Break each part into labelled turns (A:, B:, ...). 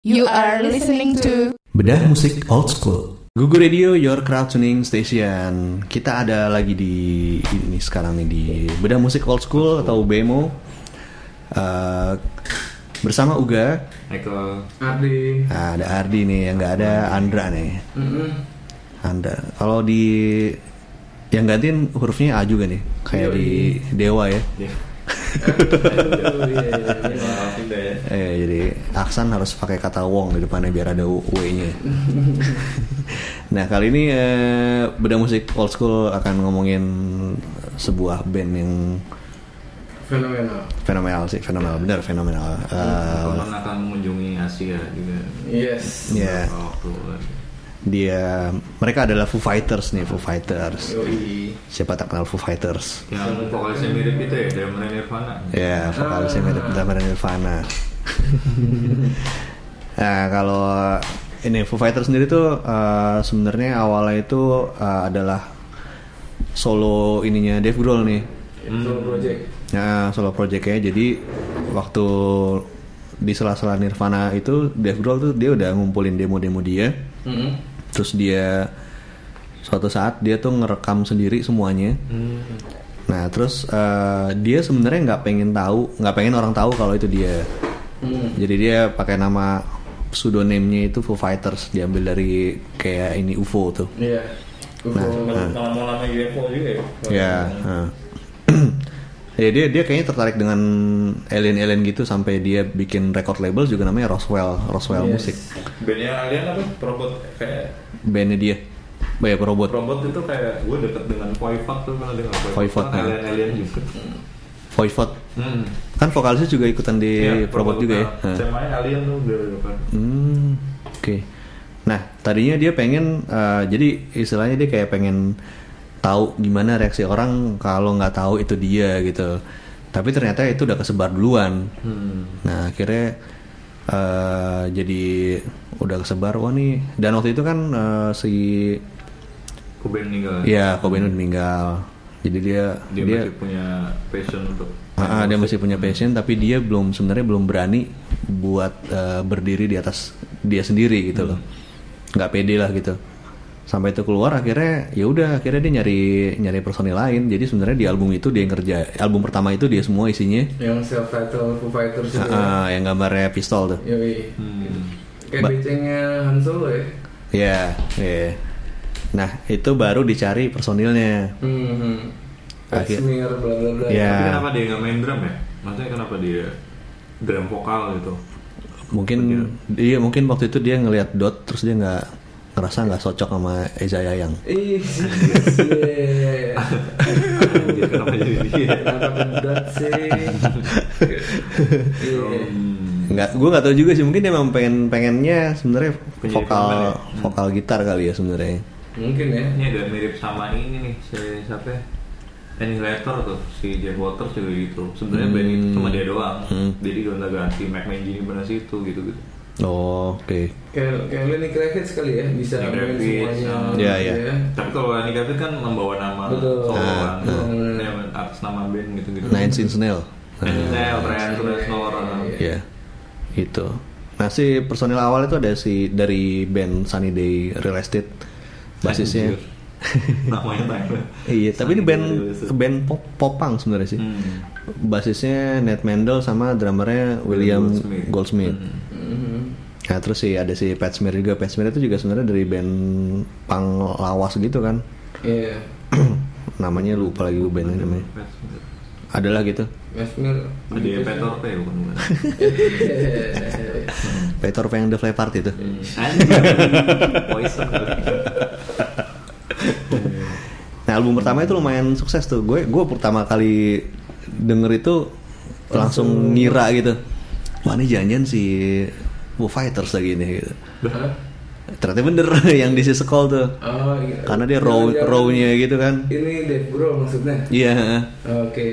A: You are listening to
B: Bedah musik old school.
C: Google Radio, your crowd tuning station. Kita ada lagi di ini sekarang nih di Bedah Musik Old School atau BEMO. Eh, bersama Uga,
D: Michael
E: Ardi
C: Nah, ada Ardi nih, yang nggak ada Andra nih. Andra. Kalau di yang gantiin hurufnya A juga nih, kayak di Dewa ya.
D: Iya. Iya.
C: Eh, jadi Aksan harus pakai kata Wong di depannya biar ada W-nya. nah kali ini eh, beda musik old school akan ngomongin sebuah band yang
E: fenomenal
C: fenomenal sih, fenomenal bener fenomenal. Eh,
D: Kapan akan mengunjungi Asia juga
E: yes
C: ya
D: Beberapa waktu lagi.
C: dia mereka adalah Foo Fighters nih Foo Fighters.
E: yoi
C: Siapa tak kenal Foo Fighters?
D: yang vokalisnya mirip itu ya dari Murray Nirvana
C: Ya, vokalisnya mirip drummer Nirvana. nah, kalau ini Foo Fighters sendiri tuh eh, sebenarnya awalnya itu eh, adalah solo ininya Dave Grohl nih.
D: Hmm.
E: itu project
C: Nah, solo projectnya jadi waktu di sela-sela Nirvana itu Dave Grohl tuh dia udah ngumpulin demo-demo dia.
D: Hmm.
C: Terus dia suatu saat dia tuh ngerekam sendiri semuanya. Nah, terus eh, dia sebenarnya nggak pengen tahu, nggak pengen orang tahu kalau itu dia. Jadi dia pakai nama pseudonimnya itu Foo Fighters diambil dari kayak ini UFO tuh.
E: iya
C: Nah.
D: Iya.
E: UFO
D: lama-lama UFO juga ya
C: Ya. heeh. ya dia dia kayaknya tertarik dengan alien-alien gitu sampai dia bikin record label juga namanya Roswell, Roswell
E: Yes.
C: Music.
D: bandnya alien apa robot kayak
C: Bandnya dia. Banyak robot.
D: robot itu kayak gue deket dengan Voivod tuh pernah dengar
C: Voivod, ya.
D: Kan alien alien juga
C: Voivod.
D: hmm.
C: Kan vokalisnya juga ikutan di
D: Iya,
C: robot juga ya.
D: nah,
C: Heeh.
D: temanya alien tuh kan. dari depan
C: Hmm, oke. Nah, tadinya dia pengen, eh, jadi istilahnya dia kayak pengen tahu gimana reaksi orang kalau nggak tahu itu dia gitu. Tapi ternyata itu udah kesebar duluan. Nah, akhirnya eh, jadi udah kesebar. Wah nih, dan waktu itu kan eh, si,
D: Kuben meninggal
C: ya Cobain udah meninggal. Jadi dia
D: dia,
C: dia,
D: masih punya passion untuk
C: Ah, ah, dia masih punya passion, tapi dia belum sebenarnya belum berani buat eh, berdiri di atas dia sendiri gitu loh, nggak pede lah gitu. Sampai itu keluar akhirnya ya udah akhirnya dia nyari nyari personil lain. Jadi sebenarnya di album itu dia yang kerja. Album pertama itu dia semua isinya
E: yang self titled Foo
C: Ah,
E: Fighters itu
C: ah, yang gambarnya pistol tuh.
E: yoi
D: Hmm.
E: kayak becengnya Han Solo ya
C: Ya, ya. Nah itu baru dicari personilnya.
E: hmm
C: Akhir.
E: Kashmir bla bla bla
C: Ya.
D: Tapi kenapa dia nggak main drum ya? Maksudnya kenapa dia drum vokal gitu?
C: Mungkin dia mungkin waktu itu dia ngelihat dot terus dia nggak ngerasa nggak cocok sama Eza Yayang.
E: ih yes, yeah.
D: Anjir, kenapa jadi dia?
E: kenapa kedat sih Iya.
D: Hmm.
C: Nggak, gue nggak tahu juga sih. Mungkin dia memang pengen pengennya sebenarnya
D: Penyanyi
C: vokal
D: vokal ya?
C: vokal gitar kali ya sebenarnya.
E: mungkin ya
D: Ini agak mirip sama ini nih, si siapa ya? Annihilator tuh, si Jeff Waters juga gitu. Sebenarnya
C: Hmm.
D: band itu cuma dia doang.
C: Hmm.
D: Jadi gonta ganti Mac Mangini pernah situ gitu gitu.
C: Oh, oke.
E: kayak kayak Lenny Kravitz kali ya bisa
D: Lenny
E: main
D: Kravitz,
E: semuanya
D: ah.
C: Iya, iya.
E: ya.
D: Tapi kalau Lenny Kravitz kan membawa nama
E: Betul.
D: solo
C: Ah,
D: kan,
E: ah.
D: Dia atas nama band gitu gitu.
C: Nine Inch Nail. Nah,
D: Nail, Brian Reznor.
C: ya,
E: Iya.
C: itu. Nah si personil awal itu ada si dari band Sunny Day Real Estate basisnya.
D: Anjir. Namanya Tyler.
C: iya, tapi ini
D: Sunny
C: band
D: Day Real Estate.
C: band pop popang sebenarnya sih.
D: Hmm.
C: Basisnya Ned Mendel sama drummernya William
D: Goldsmith.
C: Goldsmith. Nah terus sih ada si Pat Smear juga. Pat Smear itu juga sebenarnya dari band pang lawas gitu kan.
E: Iya.
C: namanya lupa lagi gue bandnya namanya adalah gitu
E: Kashmir.
D: Ada yang Peter P bukan bukan.
C: Peter Pan and the Fly Party itu
D: Anjir. Poison kali.
C: nah album pertama itu lumayan sukses tuh gue gue pertama kali denger itu langsung ngira gitu wah ini janjian si Foo Fighters lagi nih gitu
E: Hah?
C: ternyata bener yang di sekolah tuh
E: Oh, iya.
C: karena dia raw
E: Jangan-jangan
C: rawnya gitu kan
E: Ini Dave Grohl maksudnya.
C: iya Eh,
E: Oke.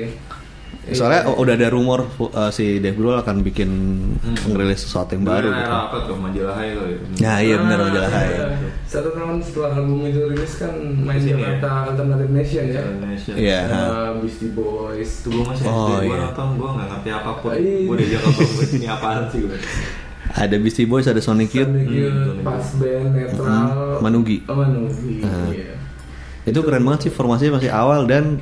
E: Iya.
C: soalnya u- udah ada rumor uh, si Dave Grohl akan bikin
E: Hmm.
C: ngerilis sesuatu yang baru
D: Nah,
C: gitu.
E: Iya,
D: apa tuh majalah Hai tuh. ya.
C: nah iya bener
E: Ah,
C: majalah Hai.
E: iya. Satu tahun setelah album itu rilis kan main
D: Kesini
E: Jakarta Alternative Nation ya.
D: Indonesia.
C: iya ha.
E: Ah, Beastie Boys.
D: Itu gue masih
C: Oh,
D: SD, gue
C: iya.
D: nonton, gue gak ngerti apapun
E: Iya.
D: Gue udah jaga banget, ini apaan sih gue
C: ada Beastie Boys ada Sonic Youth
E: Sonic Youth,
F: Hmm.
E: Pats Band, Netral,
C: Hmm. Manugi.
E: Oh, Manugi.
C: Nah.
E: iya.
C: itu keren banget sih formasinya masih awal dan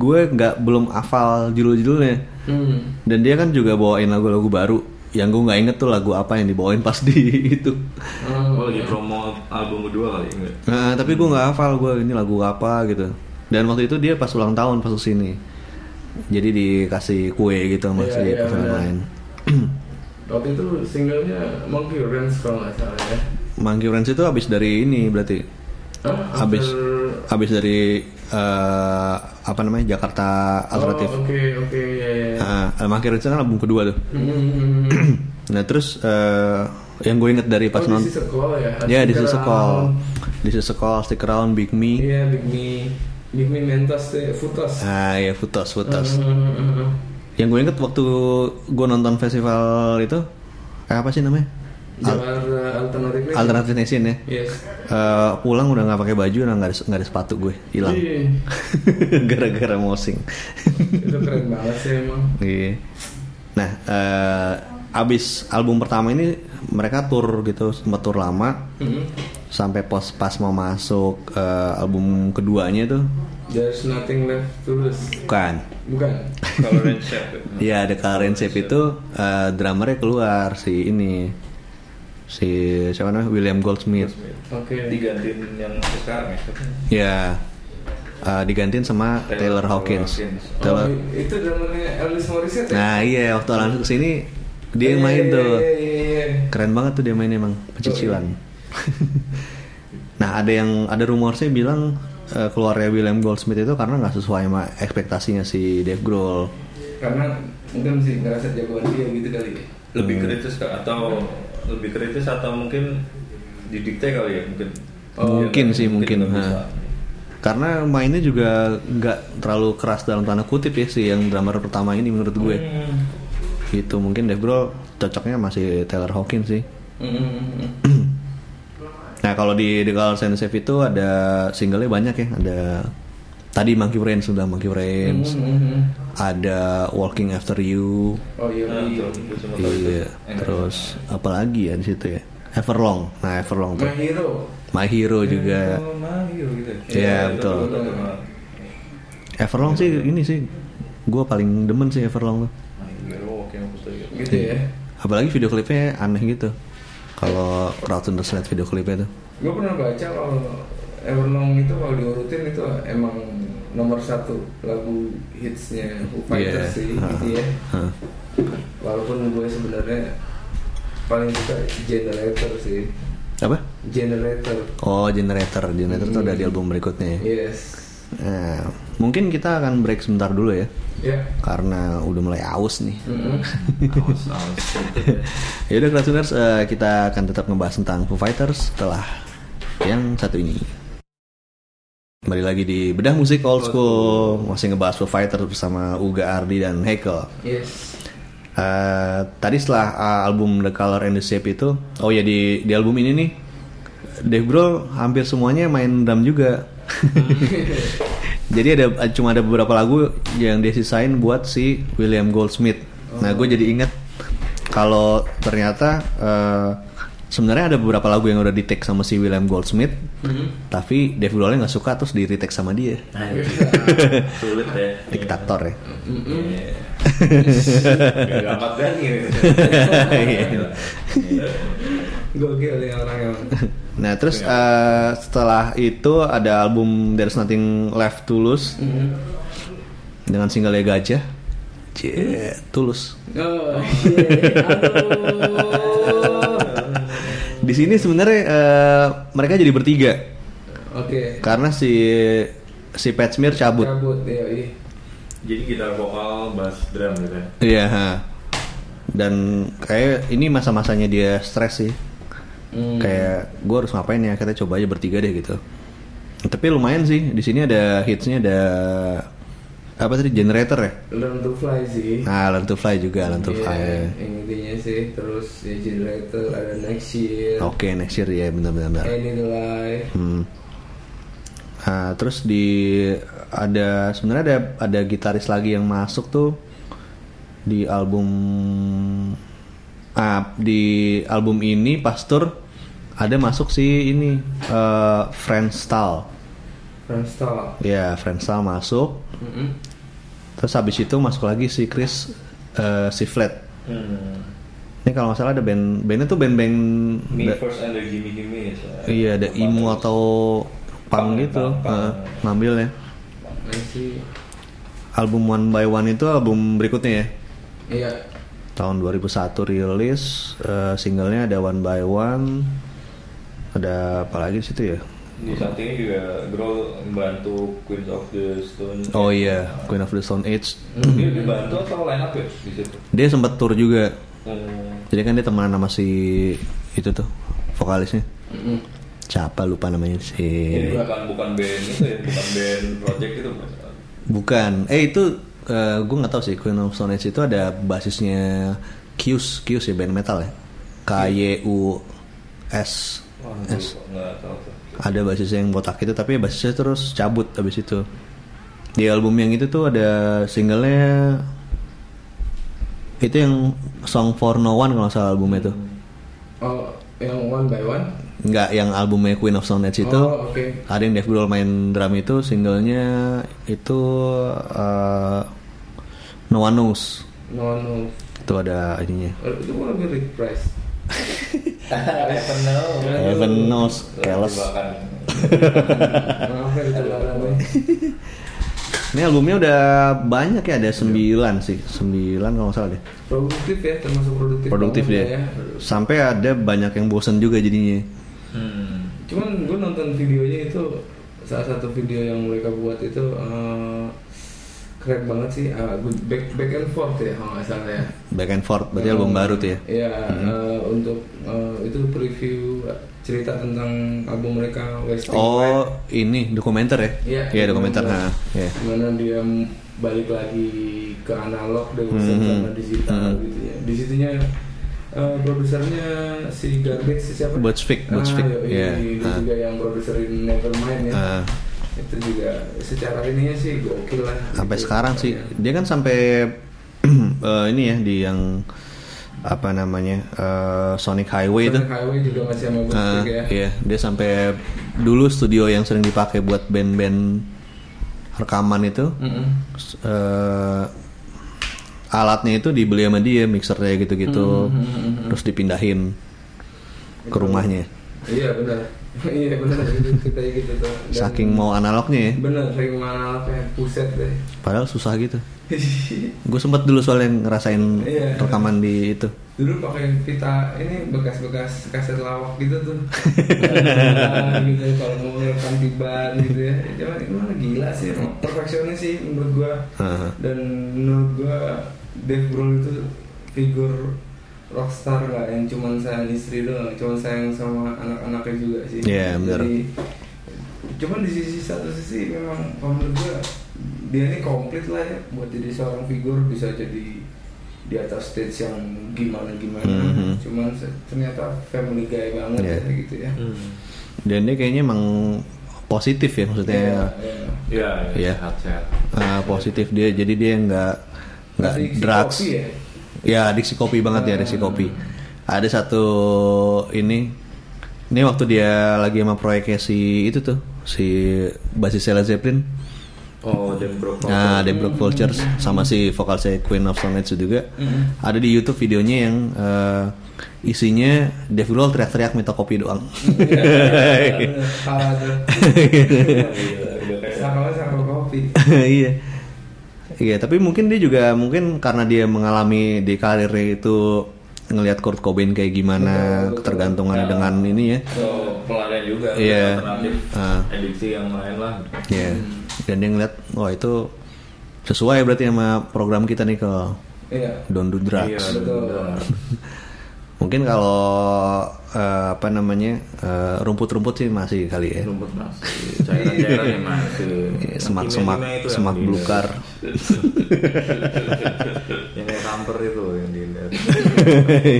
C: gue nggak belum hafal judul-judulnya
E: Hmm.
C: dan dia kan juga bawain lagu-lagu baru yang gue nggak inget tuh lagu apa yang dibawain pas di itu
E: ah,
F: Oh lagi
D: iya,
E: iya.
F: promo album kedua kali enggak?
C: nah, tapi gue nggak hafal gue ini lagu apa gitu dan waktu itu dia pas ulang tahun pas kesini jadi dikasih kue gitu sama
E: Iya,
C: si
E: iya,
C: pasangan
E: benar.
C: lain
E: Waktu itu singlenya Monkey Ranch kalau nggak salah ya.
C: Monkey Ranch itu abis dari ini berarti
E: Hah?
C: abis
E: After-
C: abis dari eh, apa namanya Jakarta alternatif
E: Oh, Oke oke Hmm, ya ya.
C: Nah, Monkey Ranch kan album kedua tuh nah terus eh, yang gue inget dari pas
E: Pas non.
C: nonton
E: Di sekolah ya.
C: Ya di
E: Stick
C: sekolah,
E: around.
C: di sekolah stick around Big Me.
E: Iya Big Me, Big Me Mentas deh, Futas.
C: Ah ya futos futos.
E: Hmm, hmm, hmm, hmm.
C: Yang gue inget waktu gue nonton festival itu eh, apa sih namanya? Al-
E: Jakarta alternatif. Nation.
C: Alternative Nation ya.
E: eh, Yes.
C: Eh, pulang udah nggak pakai baju, udah nggak ada, nggak ada sepatu gue hilang.
E: Iya,
C: Gara-gara mosing.
E: itu keren banget sih emang.
C: Iya. Nah, eh, abis album pertama ini mereka tur gitu, sempat tur lama
E: Hmm.
C: sampai pos pas mau masuk eh, album keduanya itu
E: There's nothing left to lose.
C: bukan
E: Bukan.
F: Kalau Red Chef. ya.
C: Iya ada Karen Shape itu eh, drummernya keluar si ini si siapa namanya William Goldsmith.
E: Oke.
F: Digantiin Iya. yang sekarang ya.
C: Ya eh, digantiin sama Taylor,
F: Taylor
C: Hawkins.
F: Hawkins.
C: Taylor.
E: Oh, itu drummernya Elvis Morissette. ya?
C: Nah iya waktu langsung kesini dia yang
E: Iya,
C: main
E: iya,
C: tuh.
E: Iya iya iya.
C: Keren banget tuh dia main emang pecicilan. nah ada yang ada rumor sih bilang eh, keluarnya William Goldsmith itu karena nggak sesuai sama ekspektasinya si Dave Grohl.
E: Karena mungkin sih ngerasa jagoan dia gitu kali ya.
F: Lebih
C: Hmm.
F: kritis kak atau lebih kritis atau mungkin didikte kali ya mungkin.
D: Oh,
C: mungkin
F: Iya,
C: sih mungkin, Nah.
F: nggak
C: ha. karena mainnya juga nggak terlalu keras dalam tanda kutip ya sih yang drummer pertama ini menurut gue
E: Hmm.
C: gitu mungkin Dave Grohl cocoknya masih Taylor Hawkins sih
E: Hmm, hmm, hmm.
C: nah kalau di The Color Sense itu ada singlenya banyak ya ada tadi Monkey Brain sudah Monkey Brain
E: Hmm, hmm, hmm.
C: ada Walking After You
E: Oh iya,
D: Ah,
F: Nah,
E: iya.
F: tuh, gue cuma tahu itu.
C: iya terus apalagi ya di situ ya Everlong nah Everlong tuh
E: My Hero.
C: My Hero juga
E: Hmm.
F: Oh, Mario gitu.
C: Iya,
F: itu
C: betul.
F: tuh, tuh,
C: Everlong sih ini sih gue paling demen sih Everlong tuh
D: oh,
F: Mario, oke, aku setuju.
E: Gitu ya.
C: Iya. Apalagi video klipnya aneh gitu. Kalau crowd Thunders liat video klipnya tuh.
E: Gue pernah baca kalau Everlong itu kalau diurutin itu emang nomor satu lagu hitsnya Foo Fighters sih
C: Iya.
E: gitu ya.
C: Hah.
E: Walaupun gue sebenarnya paling suka Generator sih.
C: Apa?
E: Generator.
C: Oh, Generator. Generator tuh ada di
E: Hmm.
C: album berikutnya ya.
E: Yes.
C: Nah, mungkin kita akan break sebentar dulu ya.
E: Ya.
C: Karena udah mulai aus nih.
E: Mm-mm.
F: Awas, awas.
C: Ya udah crowd Thunders, eh, kita akan tetap ngebahas tentang Foo Fighters setelah yang satu ini. Kembali lagi di Bedah Musik Old School Masih ngebahas Foo Fighters bersama Uga Ardi dan Hekel
E: Yes.
C: Eh, tadi setelah eh, album The Color and the Shape itu, oh ya di di album ini nih, Dave Grohl hampir semuanya main drum juga. jadi ada eh, cuma ada beberapa lagu yang dia sisain buat si William Goldsmith. Nah gue jadi inget kalau ternyata eh, sebenarnya ada beberapa lagu yang udah di take sama si William Goldsmith, tapi Dave Grohlnya nggak suka terus di retake sama dia.
F: Sulit ya.
C: Diktator ya.
F: Iya. Gak amat kan
D: ya.
F: gitu.
C: Iya.
E: Gokil nih orang emang.
C: Nah terus eh, setelah itu ada album There's Nothing Left to Lose dengan single Gajah. Cie, tulus.
E: Oh, iya. Aduh.
C: Di sini sebenarnya eh, mereka jadi bertiga
E: Oke.
C: karena si si Pat Smear cabut.
E: Cabut ya, iya.
F: Jadi gitar vokal, bass, drum gitu ya.
C: Iya. ha. Dan kayak ini masa-masanya dia stres sih.
E: Hmm.
C: Kayak gue harus ngapain ya? Kita coba aja bertiga deh gitu. Tapi lumayan sih. Di sini ada hitsnya ada apa tadi generator ya?
E: Learn to fly sih.
C: Nah, Learn to Fly juga, Learn to
E: Iya,
C: Fly.
E: Yang intinya sih terus ya generator ada next year.
C: Oke, next year ya benar-benar. benar.
E: Any the life.
C: Hmm. Ah, terus di ada sebenarnya ada ada gitaris lagi yang masuk tuh di album ah, di album ini Pastor ada masuk si ini eh Friends Style.
E: Friendster.
C: Ya, Friends Style masuk.
F: Mm-mm.
C: Terus habis itu masuk lagi si Chris eh, si Flat.
D: Hmm.
C: Ini kalau nggak salah ada band bandnya tuh band-band
D: Me
C: da-
D: first and the gimme gimme. so-
C: iya ada emo atau punk
D: Punk,
C: gitu
D: punk, punk.
C: eh, ngambilnya.
E: Ini sih.
C: Album One by One itu album berikutnya ya.
E: Iya.
C: Tahun 2001 rilis eh, singlenya ada One by One. Ada apa lagi di situ ya?
D: Di sampingnya juga Grohl membantu Queen of the Stone.
C: Oh iya, Queen of the Stone Age.
D: Dia dibantu atau line up ya di situ?
C: Dia sempat tour juga.
D: Hmm,
C: Jadi kan dia temenan sama si itu tuh vokalisnya. Siapa lupa namanya si
D: Jadi bukan bukan band itu ya, bukan band project itu. Mas.
C: Bukan. Eh itu gue nggak tahu sih Queen of Stone Age itu ada basisnya Q's, Q's ya band metal ya. K Y U S.
D: Wah,
C: S.
D: lupa, nggak tahu tuh.
C: Ada basisnya yang botak itu tapi basisnya terus cabut abis itu. Di album yang itu tuh ada singlenya itu yang Song for No One kalau nggak salah albumnya tuh.
E: Oh, yang one by one.
C: Nggak yang albumnya Queen of Stone Age itu.
E: Oh, oke.
C: Ada yang Dave Grohl main drum itu singlenya itu eh, No One Knows.
E: No, no.
C: Itu ada ininya.
E: Eh, Itu kurang lebih Rick Price.
D: Heaven no.
C: Heaven knows, careless.
D: Jebakan.
E: Maaf ya, itu larang gue.
C: Ini albumnya udah banyak ya ada 9 sih. 9 kalau nggak salah deh.
E: Produktif ya, termasuk produktif. ya.
C: Produktif
E: banget
C: dia. Sampai ada banyak yang bosen juga jadinya.
D: Hmm.
E: Cuman gue nonton videonya itu salah satu video yang mereka buat itu eh, keren banget sih. eh, good- back back and forth ya kalau nggak salah ya.
C: Back and forth berarti album baru tuh ya.
E: Iya, eh, untuk eh, itu preview cerita tentang album mereka Wasting
C: Oh,
E: Light.
C: ini dokumenter ya?
E: Iya,
C: Iya, dokumenter. Nah, iya.
E: Gimana dia m- balik lagi ke analog dan
C: Mhm.
E: sama digital
C: Mhm.
E: gitu ya. Di situnya eh, produsernya si Garbage si siapa?
C: Butch Vig,
E: Ah,
C: Butch Vig,
E: yoi,
C: iya.
E: dia
C: Ah.
E: juga yang produserin Nevermind ya.
C: Ah.
E: Itu juga secara ininya sih gokil lah.
C: sampai
E: gitu.
C: sekarang sih
E: Iya.
C: dia kan sampai eh, ini ya di yang apa namanya eh, Sonic Highway itu
E: Sonic Highway juga masih sama Butch
C: Ah,
E: Vig ya.
C: iya dia sampai dulu studio yang sering dipakai buat band-band rekaman itu
E: Mm-mm.
C: eh, alatnya itu dibeli sama dia mixernya gitu-gitu
E: Hmm,
C: terus dipindahin ke rumahnya
E: Iya benar. Iya benar gitu ceritanya gitu tuh. Dan-
C: saking mau analognya ya
E: Bener, sering mana kayak puset deh.
C: padahal susah gitu gue sempet dulu soalnya ngerasain
E: Iya.
C: rekaman di itu
E: Dulu pakai pita ini bekas-bekas kaset lawak gitu tuh. Nah, gitu kalau mau rekam tiban gitu ya. Cuman itu mah gila sih, emang perfeksionis sih menurut gua.
C: Heeh.
E: Dan menurut gua Dave Grohl itu figur rockstar nggak yang cuman sayang istri doang, cuman sayang sama anak-anaknya juga sih.
C: Iya, bener.
E: Jadi, cuman di sisi satu sisi memang kalau menurut gue dia ini komplit lah ya buat jadi seorang figur bisa jadi di atas stage yang gimana gimana
C: Mhm.
E: cuman se- ternyata family guy banget
C: Iya.
E: ya, gitu ya
C: dan dia kayaknya emang positif ya maksudnya
E: Iya.
F: Iya,
C: Iya.
F: iya, sehat-sehat.
C: eh, positif dia jadi dia nggak nggak
E: Masih si
C: drugs
E: kopi ya?
C: ya adiksi kopi banget ya adiksi kopi ada satu ini ini waktu dia lagi sama proyeknya si itu tuh si basis Led Zeppelin
F: Oh, dan bro.
C: nah The Brook Vultures sama si vokal saya Queen of Stone Age juga
E: Mm-hmm.
C: ada di YouTube videonya yang eh, isinya Dave Grohl teriak-teriak minta kopi doang
E: Iya. Parah tuh.
D: Gila, udah kayak-
E: Sama Iya. sama kopi.
C: iya iya tapi mungkin dia juga mungkin karena dia mengalami di karirnya itu ngelihat Kurt Cobain kayak gimana
E: Betul, betul.
C: ketergantungan dengan ini ya
D: So, pelarian juga.
C: Iya.
D: Alternatif.
C: Ah.
D: Ediksi yang lain lah.
C: ya dan dia ngelihat wah itu sesuai berarti sama program kita nih ke
E: Iya.
C: don't do
F: Iya,
C: drugs
E: Betul.
F: benar.
C: mungkin kalau eh, apa namanya eh, rumput-rumput sih masih kali ya Iya,
F: Rumput masih, cairan-cairan yang masih.
C: semak-semak
F: Kimia-kimia itu yang
C: semak
F: dilihat.
C: belukar
F: Yang kayak kamper itu yang dilihat.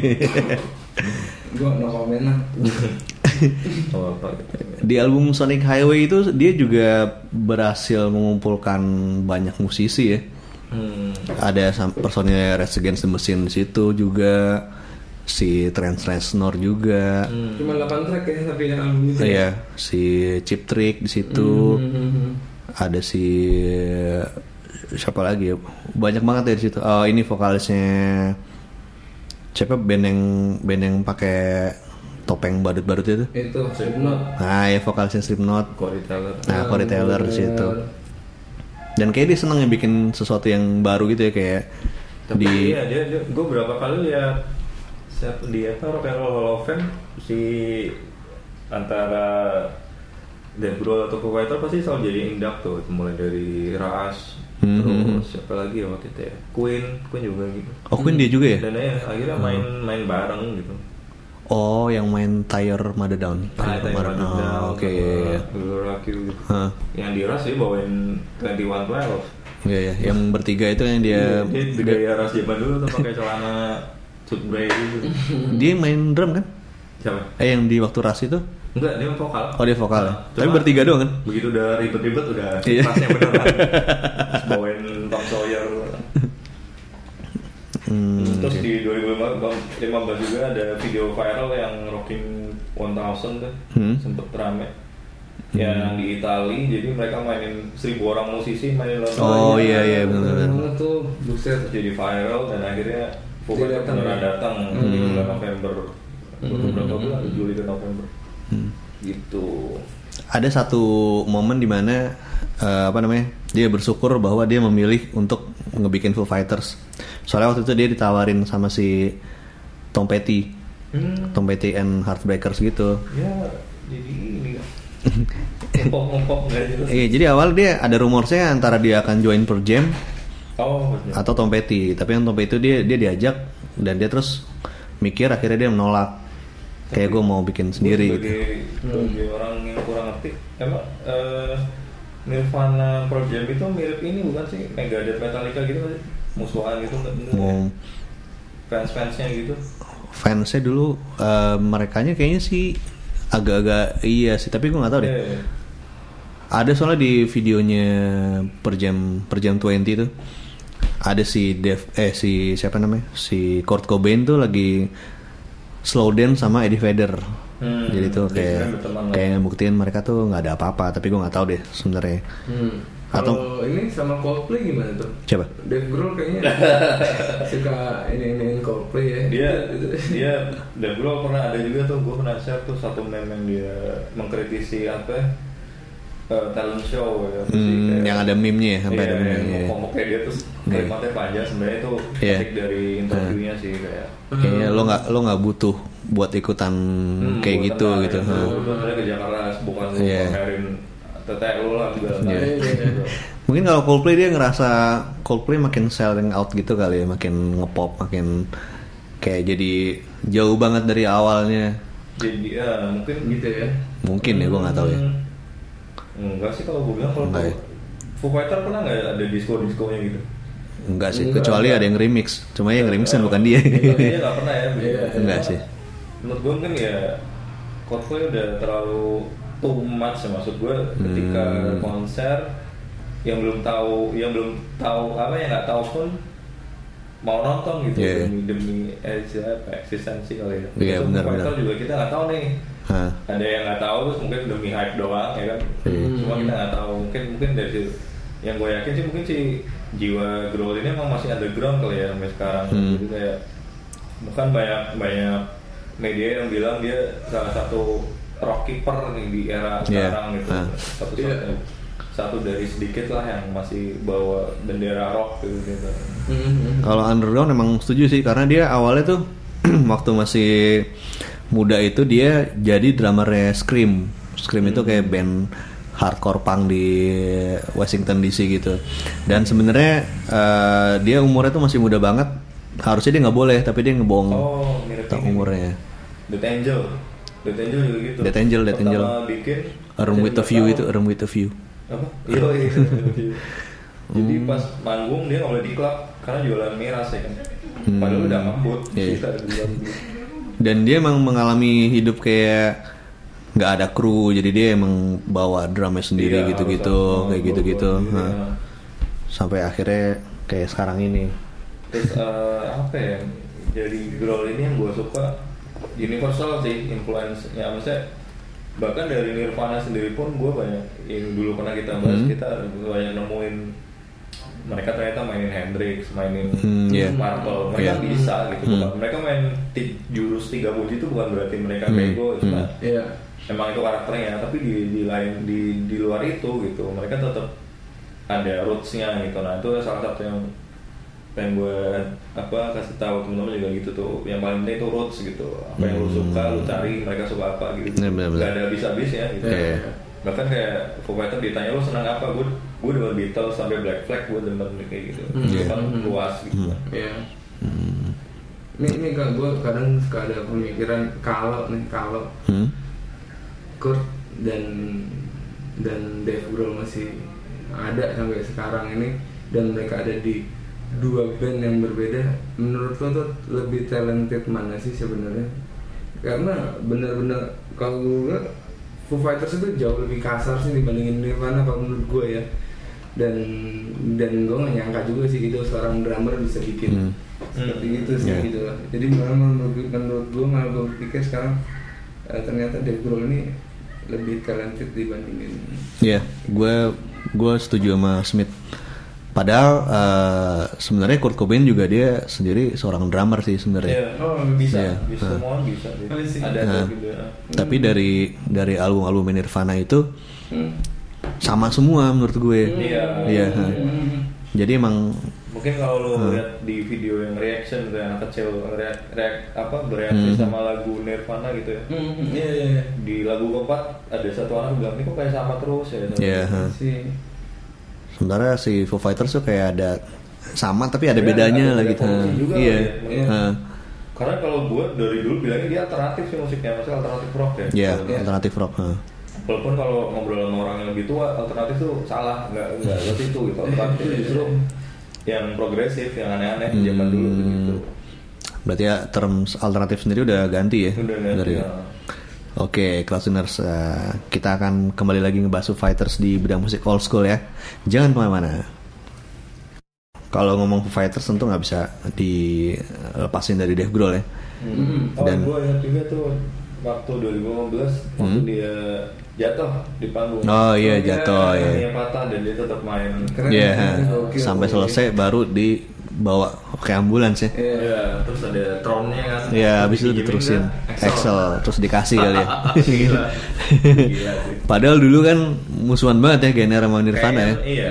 E: Gua no comment lah.
F: Oh, apa gitu.
C: Di album Sonic Highway itu dia juga berhasil mengumpulkan banyak musisi ya.
F: Hmm.
C: Ada sam- personil Rage Against the Machine di situ juga si Trent Reznor juga
E: Cuma 8 track ya tapi yang album itu.
C: Iya, si Chip Trick di situ. Ada si siapa lagi ya? Banyak banget ya di situ. Oh, ini vokalisnya siapa band yang band yang pakai topeng badut-badut itu?
E: Itu Slipknot.
C: Nah, ya vokalisnya Slipknot.
F: Corey Taylor.
C: Nah, Corey Taylor di situ. Dan kayak dia seneng ya bikin sesuatu yang baru gitu ya kayak
D: Tapi
C: di
D: iya, dia, dia gue berapa kali lihat siapa dia apa Rock and Roll Hall of Fame si antara Dave Grohl atau Foo Fighters pasti selalu jadi induktor mulai dari Rush
C: Mhm.
D: terus siapa lagi ya waktu itu ya Queen Queen juga gitu
C: Oh, Queen dia juga ya?
D: dan ya akhirnya main main bareng gitu
C: Oh, yang main Tire Mother Down.
D: Kayak Time
C: Mother
D: Bandit
C: Down.
D: Ah, Down,
C: Oke.
D: sama
C: iya, iya.
D: Blue Rock You gitu
C: Hah.
D: yang di Rush dia bawain 2112
C: Iya, iya. yang bertiga itu yang dia
D: Iya, dia, ya. dia gaya Rush zaman dulu tuh pakai celana suit grey gitu
C: dia main drum kan?
D: siapa
C: Eh yang di waktu ras itu?
D: Enggak, dia vokal.
C: Oh dia vokal. ya?
D: Ah, Cuma
C: Tapi bertiga doang kan?
D: Begitu udah ribet-ribet udah
C: Iya.
D: pasnya beneran. Terus bawain Tom Sawyer.
C: Hmm,
D: Terus
C: oke.
D: di 2015 juga ada video viral yang Rocking 1000 tuh
C: Hmm.
D: sempet rame. Yang di Itali, jadi mereka mainin seribu orang musisi mainin lagu.
C: Oh
D: lainnya.
C: iya iya benar.
E: Benar tuh, buset.
D: Terus jadi viral dan akhirnya Foo
E: Dia
D: Fighters
E: datang,
D: beneran
E: ya?
D: datang
C: Hmm.
D: di bulan November. Beberapa bulan, Juli dan November.
C: Hmm.
D: Gitu.
C: Ada satu momen dimana apa namanya dia bersyukur bahwa dia memilih untuk ngebikin Foo Fighters. Soalnya waktu itu dia ditawarin sama si Tom Petty, Tom Petty and Heartbreakers gitu.
D: ya jadi ini ngempok ngempok nggak jelas
C: Iya, jadi awal dia ada rumornya antara dia akan join per jam
D: oh maksudnya.
C: atau Tom Petty tapi yang Tom Petty itu dia dia diajak dan dia terus mikir akhirnya dia menolak kayak gue mau bikin sendiri
D: Gua
C: gitu.
D: sebagai, sebagai orang yang kurang ngerti emang eh, Nirvana Pearl Jam itu mirip ini bukan sih Megadeth Metallica gitu kan musuhan gitu nggak bener
C: Mau
D: fans fansnya gitu
C: fansnya dulu mereka merekanya kayaknya sih agak-agak iya sih tapi gue nggak tahu deh
D: Iya, iya.
C: ada soalnya di videonya per jam per jam 20 itu ada si Dev eh si siapa namanya si Kurt Cobain tuh lagi slow dance sama Eddie Vedder
D: Hmm,
C: jadi tuh
D: jadi sebenarnya
C: kayak
D: berteman lah.
C: kayak ngebuktiin mereka tuh nggak ada apa-apa tapi gue nggak tahu deh sebenarnya
E: Hmm.
C: Atau-
E: Kalau ini sama Coldplay gimana tuh?
C: coba
E: Dave Grohl kayaknya suka ini iniin Coldplay ya.
D: dia dia dan gue pernah ada juga tuh gue pernah share tuh satu meme yang dia mengkritisi apa ya? eh, talent show ya Terus sih
C: Hmm,
D: kayak-
C: yang ada meme-nya ya, sampai
D: Iya,
C: ada
D: iya,
C: meme-nya.
D: ngomong kayak dia terus
C: Iya.
D: kalimatnya panjang sebenarnya itu
C: Iya.
D: petik dari interviewnya sih kayak
C: kayaknya lo nggak lo nggak butuh buat ikutan kayak
D: gua
C: gitu
D: tenang,
C: gitu
D: ya,
C: Hah.
D: gua tenang ke Jakarta bukan
C: Iya.
D: pamerin tetek lu lah juga
C: Iya.
D: Gitu.
C: mungkin kalau Coldplay dia ngerasa Coldplay makin selling out gitu kali ya makin ngepop makin kayak jadi jauh banget dari awalnya
D: jadi ya mungkin
E: gitu ya.
C: mungkin ya gue nggak tahu ya
D: Hmm, enggak sih kalau gue bilang kalau
C: Enggak ya.
D: Foo Fighter pernah nggak ada disco disconya gitu
C: enggak sih
E: Enggak,
C: kecuali
E: enggak.
C: ada yang remix cuma yang remix kan bukan dia
D: Kayaknya Iya, nggak pernah ya
E: Iya.
C: Enggak sih.
D: Menurut gue kan ya Coldplay udah terlalu too much ya maksud gue ketika
C: Hmm.
D: konser yang belum tahu yang belum tahu apa yang nggak tahu pun mau nonton gitu
C: Iya, iya.
D: demi demi eks- apa, eksistensi kali ya.
C: Iya,
D: Terus
C: benar,
D: Foo Fighter
C: benar.
D: juga kita nggak tahu nih.
C: Hah.
D: Ada yang nggak tahu terus mungkin demi hype doang ya kan.
C: Iya.
D: Cuma kita nggak tahu mungkin mungkin dari situ. Yang gue yakin sih mungkin si jiwa growl ini emang masih underground kali ya sampai sekarang.
C: Hmm.
D: Jadi kayak bukan banyak banyak media yang bilang dia salah satu rock keeper nih di era
C: Iya.
D: sekarang gitu.
C: Hah.
D: Satu
E: Iya.
D: satu dari sedikit lah yang masih bawa bendera rock gitu. gitu.
E: Hmm.
C: Kalau underground emang setuju sih karena dia awalnya tuh waktu masih muda itu dia jadi drummernya Scream. Scream itu kayak
D: Hmm.
C: band hardcore punk di Washington DC gitu. Dan sebenarnya eh, dia umurnya tuh masih muda banget. Harusnya dia nggak boleh tapi dia ngebohong
D: Oh, mirip
C: tentang
D: ini.
C: umurnya.
D: Death Angel. Death Angel juga gitu.
C: Death Angel, Death
D: Pertama
C: Angel.
D: bikin
C: A Room
D: jadi
C: with a
D: nggak
C: View
D: tahu.
C: itu A Room with a View.
D: Apa? Iya, iya. Jadi
C: Hmm.
D: pas manggung dia nggak boleh di klub karena jualan miras ya kan. Padahal udah mabut.
C: Hmm. Iya, iya.
D: Kita jualan miras.
C: Dan dia emang mengalami hidup kayak nggak ada kru jadi dia emang bawa drumnya sendiri
D: Iya,
C: gitu-gitu
D: harus-
C: kayak
D: harus
C: gitu-gitu.
D: bawa-bawa
C: Hah.
D: diri, ya.
C: sampai akhirnya kayak sekarang ini
D: Terus eh, apa ya? dari growl ini yang gue suka universal sih influence ya maksudnya bahkan dari Nirvana sendiri pun gue banyak yang dulu pernah kita bahas
C: Hmm.
D: kita banyak nemuin mereka ternyata mainin Hendrix mainin
C: Hmm, iya.
D: Marple
C: Iya.
D: mereka bisa gitu
C: Hmm.
D: bukan- mereka main ti- jurus tiga puji itu bukan berarti mereka
C: Hmm.
D: bego cuma
C: Hmm.
E: Iya.
D: emang itu karakternya tapi di di lain di di luar itu gitu mereka tetap ada rootsnya gitu nah itu salah satu yang pengen gue apa kasih tahu temen-temen juga gitu tuh yang paling penting itu roots gitu apa yang lu suka lu cari mereka suka apa gitu
C: Hmm. Iya, benar-benar.
D: gak ada habis habisnya gitu
C: Iya.
D: bahkan kayak Foo Fighter ditanya lu senang apa gue gue demen Beatles sampai Black Flag gue demen kayak gitu
C: Hmm.
D: itu kan luas gitu
E: Iya. Ini ini kak gue kadang suka ada pemikiran kalau nih kalau
C: Hmm?
E: Kurt dan dan Dave Grohl masih ada sampai sekarang ini dan mereka ada di dua band yang berbeda menurut lo tuh lebih talented mana sih sebenarnya karena benar-benar kalau gue bilang, Foo Fighters itu jauh lebih kasar sih dibandingin Nirvana kalau menurut gue ya dan dan gue gak nyangka juga sih gitu seorang drummer bisa bikin
C: Hmm.
E: seperti itu sih
C: Yeah.
E: gitu lah. jadi malah menurut, menurut gue malah gue pikir sekarang eh, ternyata Dave Grohl ini lebih talented dibandingin
C: Iya, gue gue setuju sama Smith. Padahal eh, sebenarnya Kurt Cobain juga dia sendiri seorang drummer sih sebenarnya.
D: oh, bisa
C: ya. Iya.
D: bisa semua orang bisa gitu. ada ada
C: Nah,
D: gitu ya.
C: Tapi dari dari album-album Nirvana itu sama semua menurut gue.
D: Iya.
C: Iya. ha. Jadi emang
D: Mungkin kalau lo
C: Hmm.
D: lihat di video yang reaction gitu ya, anak kecil reak, reak- apa bereaksi
C: Hmm.
D: sama lagu Nirvana gitu ya.
E: iya iya
D: Di lagu keempat ada satu anak bilang ini kok kayak sama terus ya.
C: Iya, ha.
E: si
C: sementara si Foo Fighters tuh kayak ada sama tapi ada
D: Tapi ada-
C: bedanya
D: Iya, ada
C: lagi. ha.
D: evolusi juga
C: Iya.
D: kali ya.
C: ha.
D: Karena kalau gue dari dulu bilangnya dia alternatif sih musiknya, maksudnya alternatif rock ya.
C: Iya,
D: Kalau-
C: alternatif rock. ha.
D: Walaupun kalau ngobrol sama orang yang lebih tua, alternatif tuh salah, nggak nggak seperti itu gitu. Alternatif itu justru yang progresif, yang aneh-aneh
C: Hmm.
D: zaman dulu gitu.
C: Berarti ya terms alternatif sendiri udah ganti ya
D: Udah nggak
C: dari
D: ya.
C: Oke, Klausiners, eh, kita akan kembali lagi ngebahas Foo Fighters di bidang musik old school ya. Jangan kemana-mana. Kalau ngomong Foo Fighters tentu nggak bisa dilepasin dari Dave Grohl ya.
D: Oh,
C: Dan-
D: gue ingat juga tuh waktu 2015 waktu dia jatuh di panggung.
C: Hmm? Oh iya jatuh ya.
D: Dia kan patah dan dia tetap main.
E: Keren.
C: Iya,
E: Gokil.
C: sampai selesai baru dibawa ke ambulans ya.
E: Iya.
F: Iya, terus ada tronnya kan.
C: Ya, habis itu diterusin Excel, terus dikasih kali ya.
F: Gila. Gila sih.
C: Padahal dulu kan musuhan banget ya Gener sama Nirvana ya.
D: Kayak- Iya.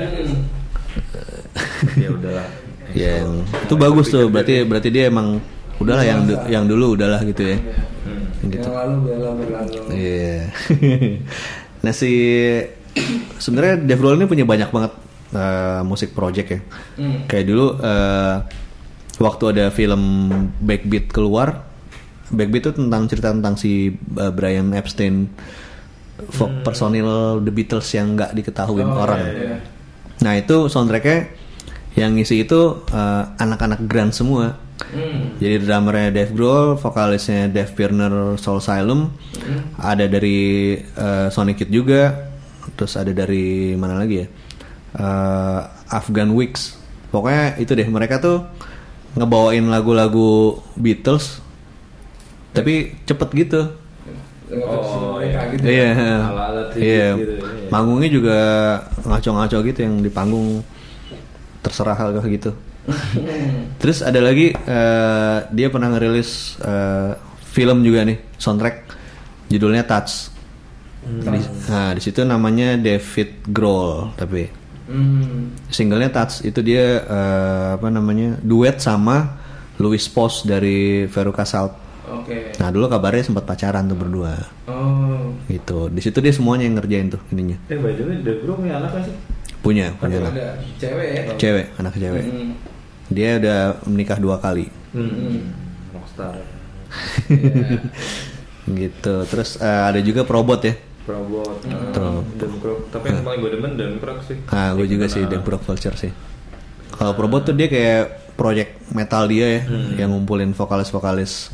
F: Ya udahlah.
C: Ya, yang- itu kan Iya. bagus tuh. Berarti berarti dia emang udahlah yang du- yang dulu udahlah gitu ya.
D: Hmm.
C: Gitu.
E: yang lalu bela berlalu
C: Iya. nah si sebenarnya Dave Grohl ini punya banyak banget eh, musik project ya. Kayak dulu eh, waktu ada film Backbeat keluar, Backbeat itu tentang cerita tentang si eh, Brian Epstein folk personil The Beatles yang nggak diketahui orang. Nah itu soundtracknya yang ngisi itu eh, anak-anak grand semua. Jadi drummernya Dave Grohl, vokalisnya Dave Pirner Soul Asylum, ada dari eh, Sonic Youth juga, terus ada dari mana lagi ya? Eh, Afghan Wigs. Pokoknya itu deh mereka tuh ngebawain lagu-lagu Beatles, tapi cepet gitu.
E: oh iya gitu
C: Iya.
F: Ala-ala tribute
C: Iya.
F: gitu, iya.
C: Manggungnya juga ngaco-ngaco gitu yang di panggung terserah hal kayak gitu. Terus ada lagi eh, dia pernah ngerilis eh, film juga nih soundtrack judulnya Touch. Di, nah di situ namanya David Grohl tapi
E: Hmm.
C: singlenya Touch itu dia eh, apa namanya duet sama Louis Pos dari Veruca Salt.
E: oke
C: Nah dulu kabarnya sempat pacaran tuh berdua
E: oh
C: gitu. Di situ dia semuanya yang ngerjain tuh ininya.
D: Eh by the way, The Group punya anak nggak sih?
C: Punya, punya anak.
E: ada cewek ya
C: Iya Cewek, anak cewek.
E: Hmm.
C: Dia udah menikah dua kali.
D: Hmm, Rockstar.
E: Iya.
C: Gitu. Terus eh, ada juga Probot ya.
D: Probot.
C: Tuh.
D: Dan Group. Hmm, Tapi yang paling gue demen dan Group sih.
C: Nah, gue juga sih Dan Rock Vulture sih. Kalau Probot tuh dia kayak project metal dia ya, yang ngumpulin vokalis-vokalis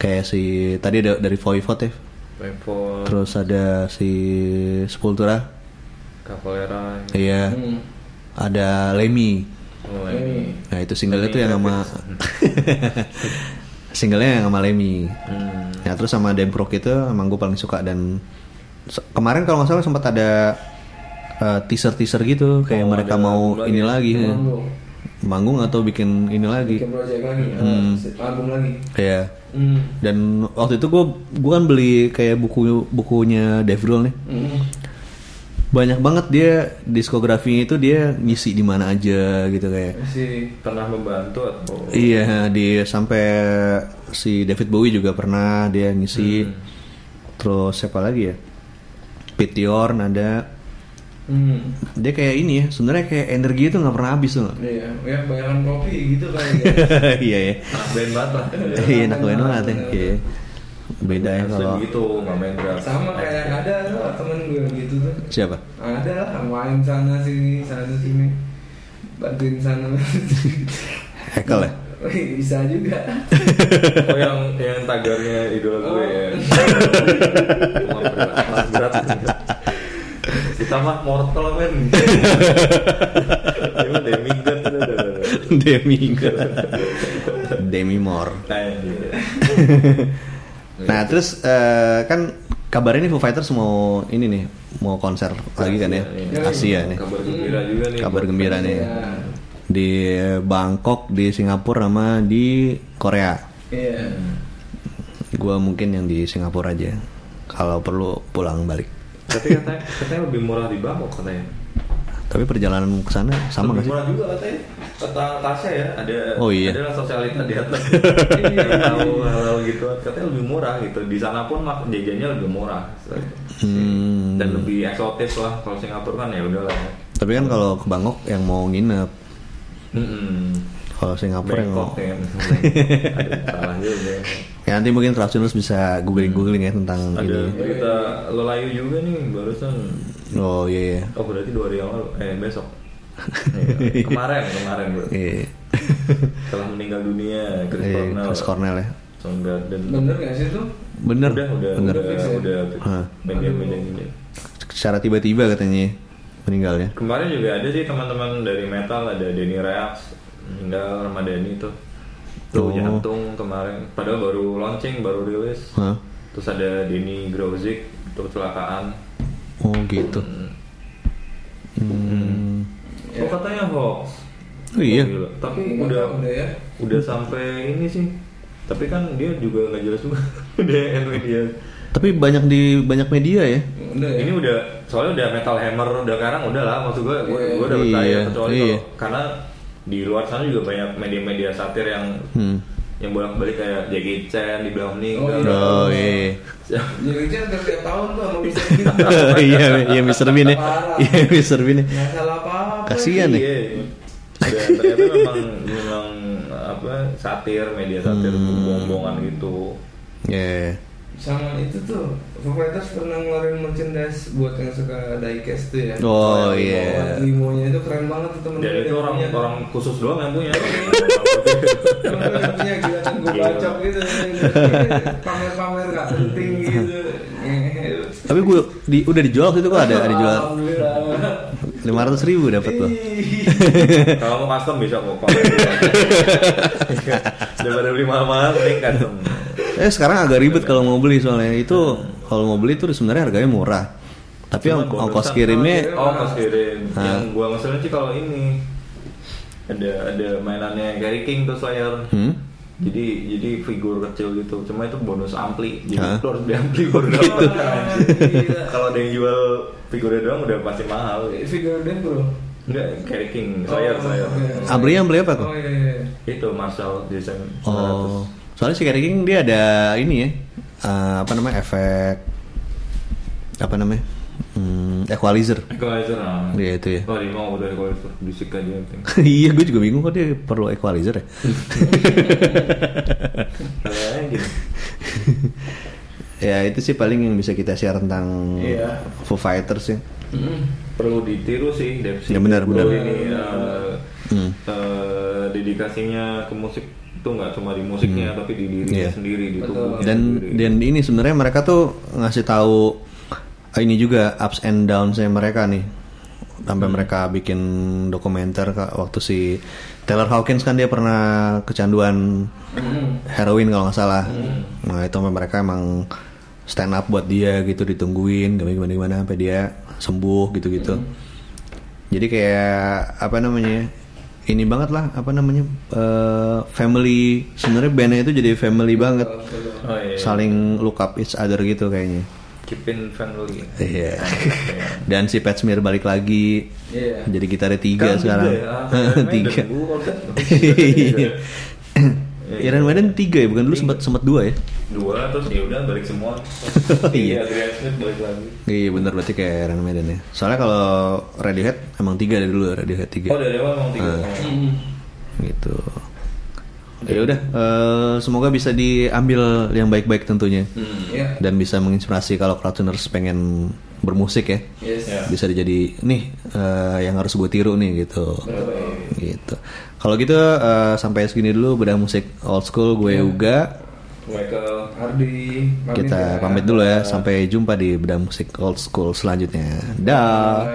C: kayak si tadi ada dari Voivod ya.
D: Level
C: Terus ada si Sepultura.
D: Cavalera.
C: Iya.
E: Hmm.
C: Ada Lemmy.
E: ini
C: Nah itu single itu yang sama singlenya yang sama Lemmy.
E: Hmm.
C: Ya terus sama Demprok itu emang gue paling suka dan se- kemarin kalau nggak salah sempat ada eh, teaser-teaser gitu kayak mereka mau ini lagi, ya.
E: Oh, Manggung.
C: manggung atau bikin ini lagi.
E: bikin project lagi
C: Hmm.
E: eh, album lagi
C: Iya.
E: hmm.
C: Dan waktu itu gue gue kan beli kayak buku bukunya Devril nih.
E: Hmm.
C: Banyak banget dia diskografinya itu dia ngisi di mana aja gitu kayak.
E: si
D: pernah membantu atau
C: Iya, di sampai si David Bowie juga pernah dia ngisi.
D: Hmm.
C: Terus siapa lagi ya? Pete Yorn ada.
E: hmm.
C: Dia kayak ini ya, sebenarnya kayak energi itu nggak pernah habis tuh. nggak?
E: Iya, ya kebanyakan kopi gitu kayak
C: Iya ya.
D: Nah, band banget lah
C: Iya, enak banget ya. Iya. Beda ya
D: Asli
C: kalau
D: gitu nggak main drum
E: sama kayak ada loh temen gue gitu tuh
C: siapa?
E: ada lah main sana sini sana sini bantuin sana
C: Hekel ya.
E: bisa juga
D: oh yang yang tagarnya idola gue ya
E: Oh.
D: Cuma berat, mas berat kita mah mortal men dia mah demigod udah, udah, udah.
C: Demi Demi Moore.
D: Nah, iya.
C: Nah terus eh, kan kabarnya nih Foo Fighters mau ini nih mau konser lagi kan ya Asia nih
D: Iya, kabar gembira juga nih
C: kabar gembira nih
E: Iya.
C: di Bangkok di Singapura sama di Korea
E: iya
C: gua mungkin yang di Singapura aja kalau perlu pulang balik
D: tapi katanya katanya lebih murah di Bangkok katanya
C: tapi perjalanan ke sana sama
D: lebih
C: nggak sih
D: murah juga katanya kata Tasya ya ada
C: Oh, iya.
D: ada lah sosialita di atas tahu hal gitu katanya lebih murah gitu di sana pun mak jajannya lebih murah
C: Hmm.
D: dan lebih eksotis lah kalau Singapura kan ya udah lah ya.
C: tapi kan kalau ke Bangkok yang mau nginep
D: Mm-mm.
C: kalau Singapura Hmm. yang mau
D: Hmm. Bangkok ya Aduh, salah juga
C: ya nanti mungkin terus bisa googling googling ya tentang
D: ada
C: ini
D: berita lelayu juga nih barusan
C: oh iya iya.
D: oh berarti dua hari yang lalu eh besok Iya, kemarin kemarin bro
C: iya
D: telah meninggal dunia Chris
C: Iya,
D: Cornell
C: Chris Cornell ya
D: Soundgarden
E: bener gak sih tuh
C: bener
D: udah udah ya. Ah.
C: bener
D: udah udah
C: Hah.
D: media media ini
C: secara tiba-tiba katanya ya. meninggalnya
D: kemarin juga ada sih teman-teman dari metal ada Denny Reax meninggal Ramadhani tuh tuh
C: Oh.
D: jantung kemarin padahal baru launching baru rilis
C: Hah?
D: terus ada Denny Grozik tuh kecelakaan
C: oh gitu hmm.
D: oh katanya hoax
C: Oh, iya.
D: Oh, gila. tapi
E: Nggak
D: udah
E: tahu
D: udah
E: deh ya
D: sampai ini sih tapi kan dia juga nggak jelas juga udah NW dia
C: tapi banyak di banyak media ya
E: udah ya
D: Ini udah soalnya udah metal hammer udah sekarang udah lah maksud gue gue, gue udah
C: Iya,
D: percaya kecuali
C: iya.
D: kalau- karena di luar sana juga banyak media-media satir yang
C: hmm.
D: yang bolak-balik kayak Jackie Chan dibilang meninggal.
C: oh iya
E: jadi kan setiap tahun tuh sama bisa gitu
C: iya iya Mr Bean ya iya Mr Bean ya
E: nggak salah apa apa
C: kasihan
D: Iya.
C: ya
D: Dan ternyata memang memang apa satir media satir
C: Hmm.
D: bohong-bohongan gitu.
C: ya
E: sama itu tuh Foo Fighters pernah ngeluarin merchandise buat yang suka diecast tuh ya
C: Oh,
E: Kayak
C: iya.
E: limo- limonya itu keren banget tuh temen
D: Dan
E: gue
D: itu
E: yang
D: orang
E: punya.
D: orang khusus doang yang punya.
E: temen gue yang punya gila kan gue
D: Gila.
E: bacok gitu pamer-pamer gak penting gitu
C: tapi gue di, udah dijual waktu itu kok ada ada jual
E: Alhamdulillah.
C: lima ratus ribu dapat loh
E: Ih.
D: Kalau mau custom bisa kok. Daripada beli mahal-mahal mending custom.
C: eh sekarang agak ribet kalau mau beli soalnya itu kalau mau beli itu sebenarnya harganya murah tapi
D: Cuman
C: ong-
D: bonusan.
C: ongkos kirimnya Ah.
D: oh ongkos kirim
C: Hah.
D: yang gua ngeselin sih kalau ini ada ada mainannya Gary King tuh Slayer
C: Hmm?
D: jadi jadi figur kecil gitu cuma itu bonus ampli
C: Hah?
D: jadi lu harus beli ampli baru
E: Gitu.
D: dapat. Gila. kalau ada yang jual figurnya doang udah pasti mahal
E: Figure Death bro
D: enggak Gary King Slayer
E: Oh,
D: Slayer
E: iya.
C: ambilnya ambilnya apa kok
E: Oh iya iya
D: itu Marshall Jason
C: Oh, soalnya si Kerry King dia ada ini ya, eh, apa namanya efek apa namanya Hmm, equalizer.
D: 100. Equalizer nah.
C: Dia itu ya.
D: oh dia mau udah Equalizer bisik aja yang penting
C: iya, gue juga bingung kok dia perlu equalizer ya.
D: Kayaknya gitu
C: ya itu sih paling yang bisa kita share tentang
E: Iya.
C: Foo Fighters ya.
D: perlu ditiru sih Depsi.
C: Ya, benar, benar. Hmm.
D: ini eh, eh, dedikasinya ke musik itu nggak cuma di musiknya tapi di dirinya
C: Iya.
D: sendiri di tubuhnya
C: Dan
D: sendiri.
C: dan ini sebenarnya ah, mereka tuh ngasih tahu eh, ini juga ups and downs-nya mereka nih. sampai mereka bikin dokumenter Kak, waktu si Taylor Hawkins kan dia pernah kecanduan heroin kalau nggak salah nah itu sampai mereka emang stand up buat dia gitu ditungguin gimana gimana gimana sampai dia sembuh gitu gitu jadi kayak apa namanya ini banget lah apa namanya eh, family sebenarnya bandnya itu jadi family banget
D: Oh iya.
C: saling look up each other gitu kayaknya
D: Keepin family.
C: Iya. Dan si Pat Smear balik lagi.
E: Iya.
C: Jadi gitarnya
D: Kan
C: tiga sekarang.
D: ya.
C: tiga.
D: Tiga.
C: Iron Maiden tiga ya, bukan dulu sempat sempat dua ya?
D: Dua terus ya udah balik semua.
C: Iya.
D: Iya, Adrian Smith balik lagi.
C: Iya bener berarti kayak Iron Maiden ya. Soalnya kalau Radiohead emang tiga dari dulu ya, Radiohead tiga.
D: Oh dari awal emang tiga.
C: Ah.
D: Oh.
C: Gitu. Ya udah, eh, semoga bisa diambil yang baik-baik tentunya.
E: Iya.
C: Dan bisa menginspirasi kalau crowdtuners pengen bermusik ya.
E: Yes.
D: Iya.
C: Bisa jadi nih eh, yang harus gue tiru nih gitu. gitu kalau gitu eh, sampai segini dulu bedah musik old school gue
E: Ya.
C: Uga
D: Michael.
E: Ardi pamit
C: kita
E: ya.
C: pamit dulu ya sampai jumpa di bedah musik old school selanjutnya dah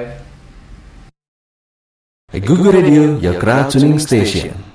E: Bye.
B: Google Radio, your crowd tuning station.